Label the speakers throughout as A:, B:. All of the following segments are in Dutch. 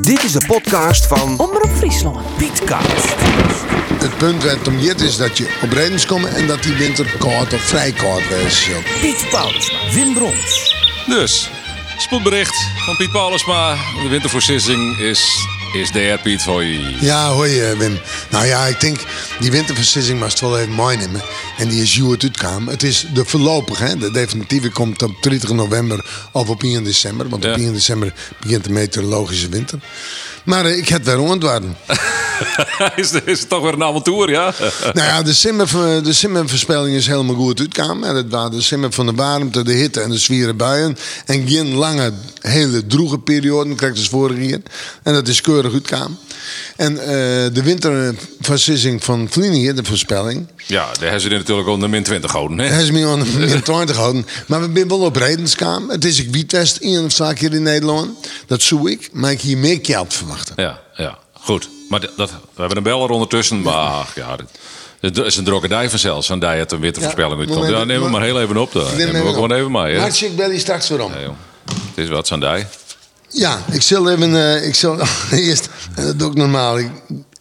A: Dit is de podcast van
B: Omroep Friesland.
A: Pietcast.
C: Het punt waar het om gaat is dat je op redens komt en dat die winter koud of vrij koud is. ja.
A: Piet Paulusma, Wim Brons,
D: Dus, spoedbericht van Piet Paulusma. De wintervoorzitzing is, is daar, Piet. Hoi.
C: Ja, hoor je Wim. Nou ja, ik denk die winterversissing mag het wel even mooi nemen. En die is Juwet uitkwam. Het is de voorlopige, hè? de definitieve komt op 30 november of op 1 december. Want
D: Ja.
C: op 1 december begint de meteorologische winter. Maar eh, ik heb daar rondwaarden.
D: is, is het toch weer een avontuur, ja?
C: nou ja, de, simmer, de simmerverspeling is helemaal goed uitgekomen. En Het waren de simmer van de warmte, de hitte en de zware buien. En geen lange, hele droege perioden, krijg dus vorige jaar. En dat is keurig uitgekomen. En eh, de winterversissing van Vlinië, de voorspelling...
D: ja, daar hebben ze dit natuurlijk onder min 20 gehouden, hè?
C: Hij is meer aan de min 20 houden. Maar we zijn wel op redenskamer. Het is een wietest in of zaak hier in Nederland. Dat zoek ik. Maar ik hier meer geld verwachten.
D: Ja, ja. Goed. Maar dat, dat- we hebben een beller ondertussen. Maar ach, ja, dit- dit is een drokkedij vanzelf. Zo'n dij het een witte voorspelling moet komen.
C: moment,
D: Ja, neem hem
C: maar-
D: maar heel even op. Dan.
C: Ik
D: Neem
C: hem
D: hem ook gewoon even mee. hè?
C: Hartje, ik bel je straks weer om.
D: Ja, joh. Het is wat, zo'n dij.
C: Ja, ik zal even... eh, ik zal eerst... en Dat doe ik normaal. Ik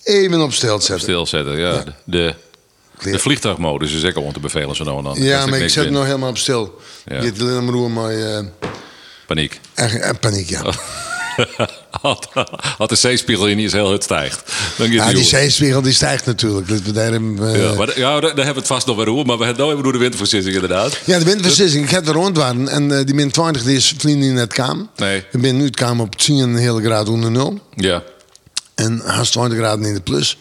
C: even op stelt zetten.
D: Stilzetten, ja. De, de vliegtuigmodus is ook al te bevelen zo nou en dan. Daar
C: Ja,
D: zit
C: maar ik
D: niks
C: zet
D: in.
C: hem nog helemaal op stil.
D: Ja.
C: Je hebt alleen maar roer, maar... eh,
D: Paniek.
C: echt, eh, paniek,
D: Oh,
C: ja.
D: had, had de zeespiegel in is heel het stijgt. Dan
C: ja
D: ja,
C: Ah, die zeespiegel die stijgt natuurlijk. Dat we daar, hebben, eh,
D: ja, maar, d- ja, daar daar hebben we het vast nog weer over. Maar we hebben het nou even door de winterversissing inderdaad.
C: Ja, de windversissing. Ik heb er rond waren. En eh, die min 20 die is vliegen in het kaam.
D: Nee.
C: Ik ben nu het kaam op 10 hele graad onder nul.
D: Ja.
C: En haast 20 graden in de plus.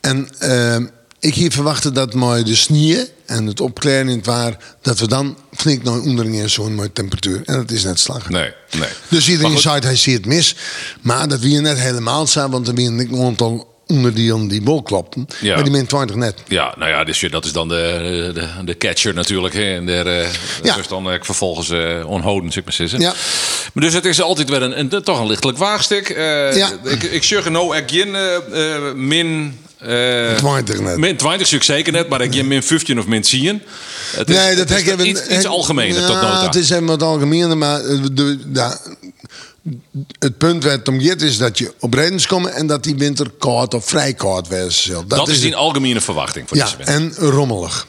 C: En eh, ik hier verwachtte dat mooi de sneeuw en het opklaren in het waar... dat we dan flink naar onderling in zo'n mooie temperatuur. En dat is net slag.
D: Nee, nee.
C: Dus
D: Maar
C: iedereen
D: goed,
C: zei het, hij ziet het mis. Maar dat we hier net helemaal zijn, want er waren een aantal onder die aan die bol klopten.
D: Ja.
C: Maar die min 20 net.
D: Ja, nou ja, dus je- dat is dan de, de, de catcher natuurlijk. Hè? En daar, eh,
C: Ja.
D: Dus dan eh, vervolgens eh onhouden, zeg maar zeggen.
C: Ja.
D: Maar dus het is altijd wel een, een- toch een lichtelijk waagstuk. Eh,
C: Ja.
D: Ik, ik zeg nou, ik gin eh, eh, min... eh,
C: 20 net.
D: Min 20 zie ik zeker net, maar ik gin min 15 of min 10. Het is,
C: nee,
D: Dus het
C: dat
D: is
C: heb ik even-
D: iets, iets
C: heb-
D: algemener
C: ja,
D: tot nota.
C: Het is even wat algemener, maar eh, de, ja, het punt waar het om gaat is dat je op redens komt en dat die winter koud of vrij koud was. Dat,
D: Dat, is die
C: het.
D: algemene verwachting voor
C: Ja,
D: deze mensen.
C: en rommelig.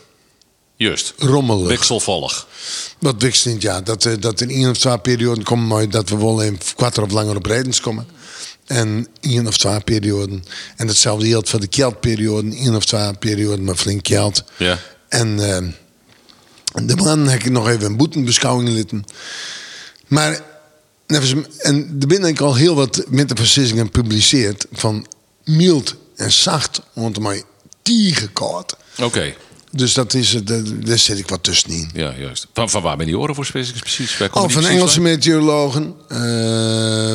D: Juist.
C: Rommelig.
D: Wikselvallig.
C: Dat wist niet, ja. Dat, eh, dat in één of twee perioden komen, maar dat we wel in kwart of langer op redens komen. En één of twee perioden. En hetzelfde geldt voor de keltperioden. Één of twee perioden, maar flink kelt.
D: Ja.
C: En eh, de man heb ik nog even een boetenbeschouwing litten. Maar, nevens- en er ben ik al heel wat winterversissingen publiceerd. Van mild en zacht, want maar tiegenkoud.
D: Oké,
C: Dus dat is, het, eh, daar zit ik wat tussenin.
D: ja, juist. Van, van waar ben die oren voor specifiek precies? Waar komen
C: Oh,
D: die
C: van
D: precies
C: Engelse
D: bij?
C: meteorologen, eh,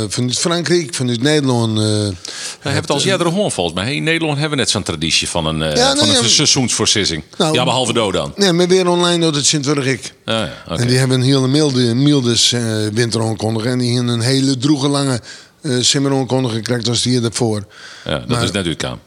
C: vanuit Frankrijk, vanuit Nederland. eh,
D: We hebben het als eerder gehoord volgens mij. In Nederland hebben we net zo'n traditie van een, eh
C: Ja,
D: van
C: nee,
D: een
C: ja.
D: seizoensvoorzissing.
C: Nou,
D: ja, behalve dood dan.
C: nee, maar weer online door het Sint-Wurgik.
D: Ah, ja, oké.
C: En die hebben een hele milde, mildes eh, winter aankondigd. En die hebben een hele droege lange eh simmer aankondigd gekregen als die hier daarvoor.
D: ja, dat
C: maar-
D: is net uitkaam.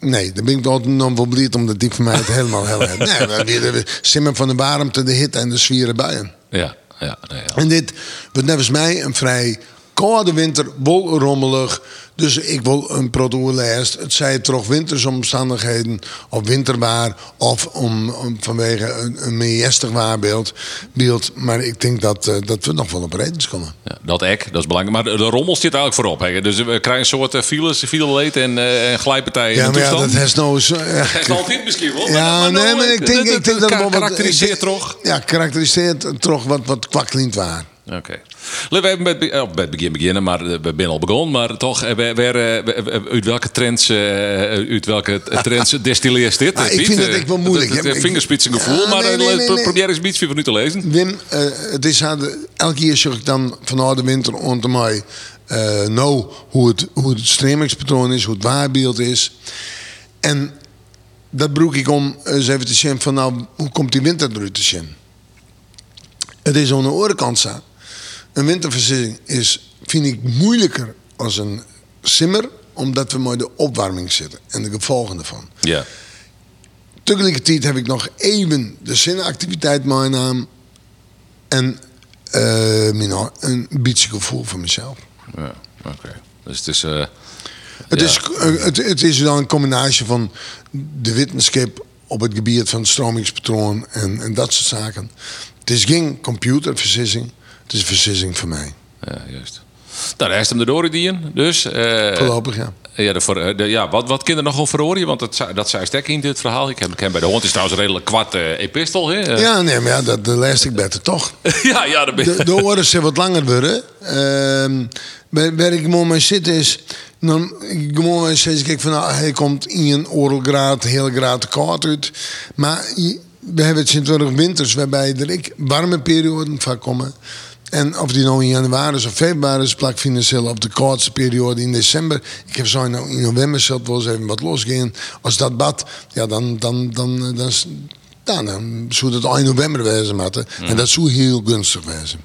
C: Nee, daar ben ik altijd nog wel blij omdat die voor mij het helemaal heel erg. Nee, maar weer de simmer van de warmte, de hitte en de zwieren buien.
D: Ja, ja, nee, ja.
C: En dit wordt nevens mij een vrij koude winter, bol rommelig. Dus ik wil een protocolest. Het zij toch wintersomstandigheden of winterbaar of om, om vanwege een, een meestig waarbeeld. Beeld. Maar ik denk dat, eh, dat we nog wel op redens komen.
D: Ja, dat ek, dat is belangrijk. Maar de, de rommel zit eigenlijk voorop. Hè. Dus we krijgen een soort eh, files, fileleed en, eh, en glijpartijen.
C: Ja,
D: en
C: maar ja, dat
D: toestand.
C: is nou zo.
D: Echt altijd misschien wel. maar-
C: Ja,
D: maar nou,
C: nee, maar ik denk, ik denk dat
D: ka-
C: wel wat-
D: karakteriseert
C: ik-
D: toch?
C: Ja, karakteriseert toch wat, wat kwakkelend waar.
D: Oké. Laten we even met, eh, met het begin beginnen, maar eh, we zijn al begonnen. Maar toch, eh, we- we- eh, we- we- uit welke trends, eh, uit welke trends destilleert dit?
C: Ah,
D: eh,
C: ik
D: Piet?
C: vind het
D: Eh,
C: echt wel moeilijk,
D: Het, het,
C: hè?
D: het vingerspitsengevoel,
C: Ja,
D: maar
C: nee,
D: eh,
C: nee, nee,
D: pro-
C: nee.
D: probeer eens een beetje van nu te lezen.
C: Wim, eh, het is aan de- elke keer zoek ik dan van de winter onder mij eh nou hoe het, hoe het streamingspatroon is, hoe het waarbeeld is. En dat broek ik om eh, eens even te zien van nou, hoe komt die winter eruit te zien? Het is aan de andere kant zo. Een winterversissing is, vind ik, moeilijker als een simmer, omdat we maar de opwarming zitten en de gevolgen ervan.
D: Ja.
C: Tegelijkertijd heb ik nog even de zinactiviteit mijn naam. En eh, mijn ho- een beetje gevoel voor mezelf.
D: ja Oké. Dus het is... eh,
C: Het,
D: ja.
C: is, eh, het, het is dan een combinatie van de wetenschap op het gebied van het stromingspatroon en, en dat soort zaken. Het is geen computerversissing, het is een versissing voor mij.
D: Ja, juist. Nou, daar is hem de doordieen. Dus... eh,
C: Voorlopig, ja.
D: Ja, de, ver- de- ja wat, wat kinderen nogal verhoren, want dat, zei- dat zei Stek in dit verhaal. Ik heb hem bij de hond, is trouwens een redelijk kwart eh, epistel. Hè? Eh,
C: Ja, nee, maar ja, dat, dat leest ik beter toch.
D: ja, ja, dat ben
C: De, de oren zijn wat langer worden. Ehm, waar, waar ik gewoon mee zit is... Dan, ik gewoon mee steeds kijk van... Nou, hij komt in een orelgraad, heel graad te koud uit. Maar je- we hebben het sinds 20 winters... waarbij er ik warme perioden van komen. En of die nou in januari is of februari is... plak financieel op de koudste periode in december. Ik heb zo nou in november zelf wel eens even wat losgaan. Als dat bad, ja, dan... dan, dan, eh, dan, is- nou, dan zou het al in november wezen, Maarten. En dat zou heel gunstig wezen.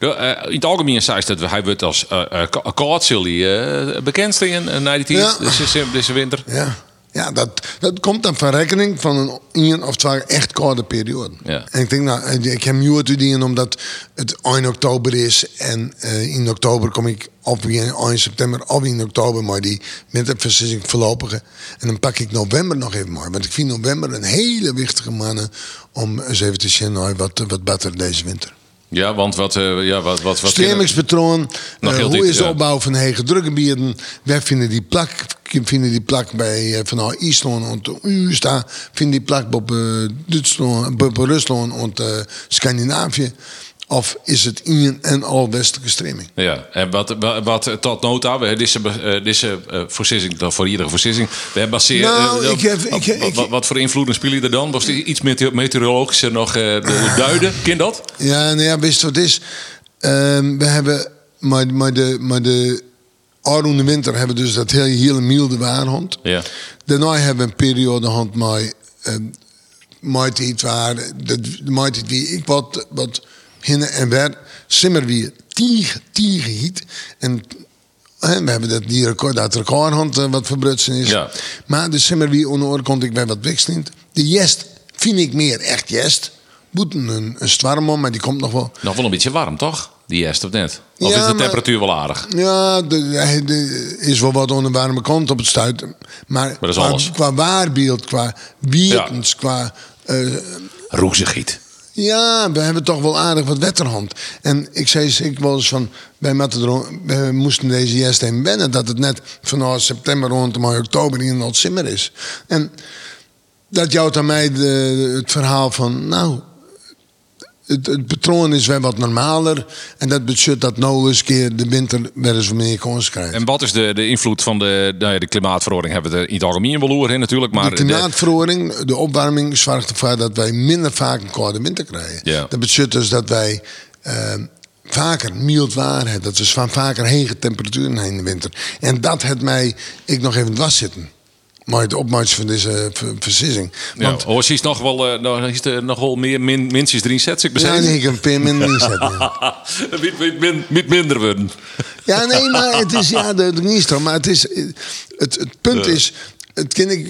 D: Ja, eh, in het algemeen zei ze dat hij wordt als eh Koatsilly bekend zijn eh, na die tijd,
C: Ja.
D: dus is- deze winter.
C: Ja, ja dat, dat komt dan van rekening van een één of twee echt koude periode.
D: Ja.
C: En ik denk, nou, ik heb nu het idee omdat het eind oktober is. En eh, in oktober kom ik of in eind september of in oktober. Maar die winterversissing voorlopige. En dan pak ik november nog even mooi. Want ik vind november een hele wichtige maand om eens even te zien nou, wat, eh, wat batter deze winter.
D: Ja, want wat... eh, ja, wat, wat, wat
C: Streamingspatroon,
D: Nog
C: eh,
D: heel
C: hoe
D: dit,
C: is de
D: ja.
C: opbouw van hege drukgebieden? Wij vinden die plak, vinden die plak bij eh van nou, IJsland en de USA, vinden die plak op, eh, Duitsland, op op Rusland en eh, Scandinavië? Of is het in en al westelijke streaming?
D: Ja, en wat, wat, wat eh, tot nota, we deze, eh, deze eh, voorzitting, dan voor iedere voorzitting, we baseren...
C: Nou,
D: eh,
C: ik heb- ik-
D: wat,
C: ik-
D: wat, wat voor invloeden spelen je er dan? Was die iets meteo- meteorologischer nog eh,
C: Ah.
D: de duiden? Kind dat?
C: Ja, nou ja, wist je wat het is? Ehm, we hebben, maar, maar de, maar de Arroende winter hebben we dus dat hele, hele milde waarhond.
D: Ja.
C: Daarna hebben we een periode gehad met, eh, met iets waar, dat, met iets wie ik wat, wat hinnen en weer, simmer weer, tieg, tieg hiet. En eh, we hebben dat, die record, dat recordhand eh, wat verbrutsen is.
D: Ja.
C: Maar de simmer wie onder oor komt ik bij wat wikslint. De jest vind ik meer echt jest. Boeten een, een stwarmon, maar die komt nog wel.
D: Nog wel een beetje warm, toch? Die eerste of net? Of
C: Ja,
D: is de
C: maar-
D: temperatuur wel aardig?
C: Ja, er is wel wat onder warme kant op het stuit. Maar,
D: dat is
C: qua,
D: alles.
C: qua waarbeeld, qua wiertens, qua... eh,
D: Roezegiet.
C: ja, we hebben toch wel aardig wat wetterhand. En ik zei eens- ik wel eens van, bij Matador, we moesten deze juist even wennen... dat het net vanaf september rond maar oktober in het simmer is. En dat jouwt aan mij de- het verhaal van, nou... Het, het patroon is weer wat normaler. En dat betekent dat nou eens een keer de winter wel eens wat meer kans krijgt.
D: En wat is de, de invloed van de, nou ja, de klimaatverordening? Hebben we het er in het algemeen wel over, hè, natuurlijk. Maar
C: de klimaatverandering, de opwarming, zorgt ervoor dat wij minder vaak een koude winter krijgen.
D: Ja.
C: Dat betekent dus dat wij eh, vaker mild waar hebben. Dat we van vaker hege temperaturen heen in de winter. En dat het mij, ik nog even was zitten. Maar het opmaatje van deze ver- versissing.
D: ja,
C: Want
D: oh, ze is nog wel, eh, nou, is er nog wel meer, min, minstens drie sets, ik
C: ja,
D: bezin.
C: nee, ik heb een paar minder inzetten.
D: Niet- niet min- niet minder worden.
C: Ja, nee, maar het is ja, de minister. Maar het is het, het punt is, het ken ik.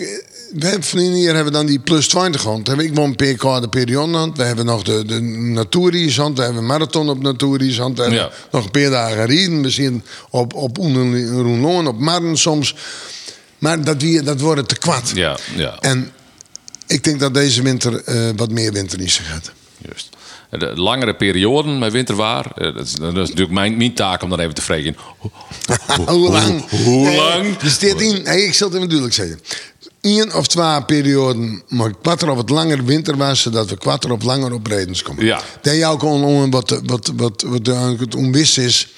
C: We hebben vrienden hier hebben dan die plus 20 hand. Hebben ik woon PK de Perionhand. We hebben nog de, de Natuurrieshand. We hebben een marathon op Natuurrieshand. We hebben
D: Ja.
C: nog een paar dagen rijden. Misschien op op Oenen- Roenloon, op Marren soms. Maar dat, wie, dat wordt te kwad.
D: Ja, ja.
C: En ik denk dat deze winter eh, wat meer winternissen gaat.
D: Juist. En De langere perioden met winterwaar, eh, dat is, dat is natuurlijk mijn, mijn taak om dan even te vragen. Ho- ho-
C: Hoe lang?
D: Hoe, hoe
C: Nee,
D: lang?
C: er staat in, hey, ik zal het even duidelijk zeggen. Eén of twee perioden, maar kwartier of het langer winter was, zodat we kwartier of langer op redens komen.
D: Ja.
C: Dan jou kon om wat, wat, wat, wat eigenlijk het onwist is.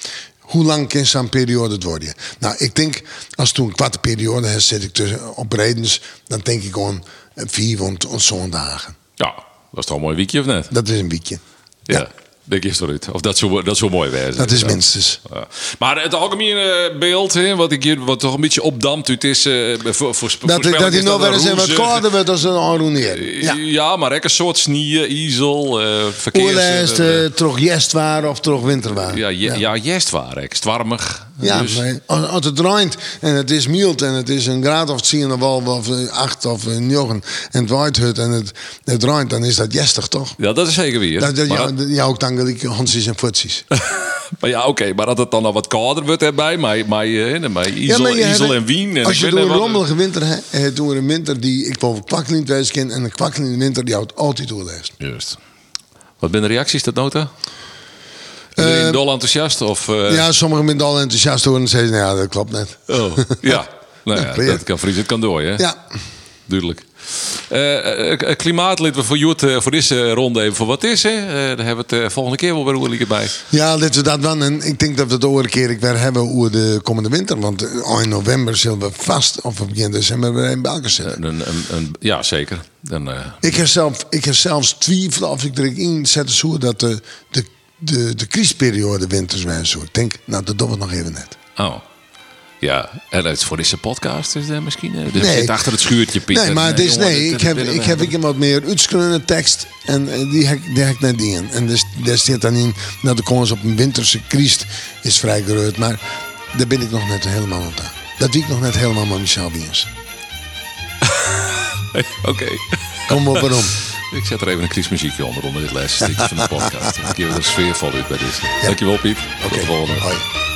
C: Hoe lang kan zo'n periode het worden? Nou, ik denk, als toen een kwarte periode heb, zit ik tussen, op redens, dan denk ik gewoon eh, vier want of zo'n dagen.
D: Ja, dat is toch een mooi weekje of net?
C: Dat is een weekje.
D: Ja. Denk je zo uit. Of dat zo, dat zo mooi wezen.
C: Dat is
D: Ja.
C: minstens.
D: Ja. Maar het algemene eh, beeld, hè, wat ik hier wat toch een beetje opdamt, het is eh, voor, voor
C: Dat, dat hij nog wel eens
D: een Eh,
C: wat kouder wordt als een arroeneer.
D: Ja. ja, maar ook een soort snieën, ijzel, eh verkeers...
C: Oerlijst,
D: eh,
C: eh toch jest waren of toch winter waren.
D: ja, je- ja, juist waar, ik. Stwarmig.
C: Ja,
D: dus,
C: maar als, als het draait en het is mild en het is een graad of 10 of 11 of eh, 8 of eh, 9 en het waait het en het, het draait, dan is dat jestig toch?
D: ja, dat is zeker weer.
C: Nou, Dat, dat,
D: Maar
C: jou,
D: dat-
C: dat- jou ook dan gelijk Hansies en Futsies.
D: Maar ja, oké, maar dat het dan al wat kouder wordt erbij, maar, maar, eh, maar
C: Ja,
D: Isel,
C: maar je
D: Isel
C: hebt-
D: en Wien. En
C: als je
D: ik
C: door
D: weet
C: een
D: niet wat-
C: rommelige winter he- hebt, door een winter die ik woon kwakkelend wees kind en de kwakkelende winter die houdt altijd doorleefd.
D: Juist. Wat zijn de reacties tot nota? Iedereen dol enthousiast? Of, eh,
C: Ehm, Ja, sommigen zijn al enthousiast hoor en zeggen, nou ja, dat klopt net.
D: Oh, ja. Nou ja,
C: probeer.
D: dat kan Fries, het kan door, hè?
C: Ja,
D: Duidelijk. Eh, eh, eh, klimaat lieten we voor Joet eh, voor deze ronde even voor wat is, hè? Eh, daar hebben we het eh, volgende keer wel weer roerlijk bij.
C: ja dat we dat dan. En ik denk dat we het ooit een keer weer hebben over de komende winter. Want eh, al in november zullen we vast, of begin december, weer in België zitten.
D: Een, een, een, ja, zeker. Dan, eh,
C: Ik heb, zelf, ik heb zelfs twijfel of ik erin inzet zo dat de, de, de, de crisisperiode winters zijn. zo. Ik denk, nou, dat doen we nog even net.
D: oh. Ja, en het is voor deze podcast is dat misschien. eh, Dus
C: Nee.
D: zit achter het schuurtje, Pieter.
C: Nee, maar het is,
D: jongen,
C: nee,
D: dit-
C: ik
D: dit
C: heb,
D: willen
C: ik
D: we
C: heb ik hem wat meer uitskrunnen tekst en eh, die heb ik- die heb ik net in. En dus, daar zit dan in dat de kans op een winterse kriest is vrij groot. Maar daar ben ik nog net helemaal op aan. Dat weet ik nog net helemaal met Michel Biens.
D: Oké.
C: Kom op waarom.
D: Ik zet er even een Christmuziekje onder, onder dit lijstje van de podcast. Dan geven we er sfeervol uit bij dit. Dankjewel, Piet. Tot de volgende.
C: Hoi.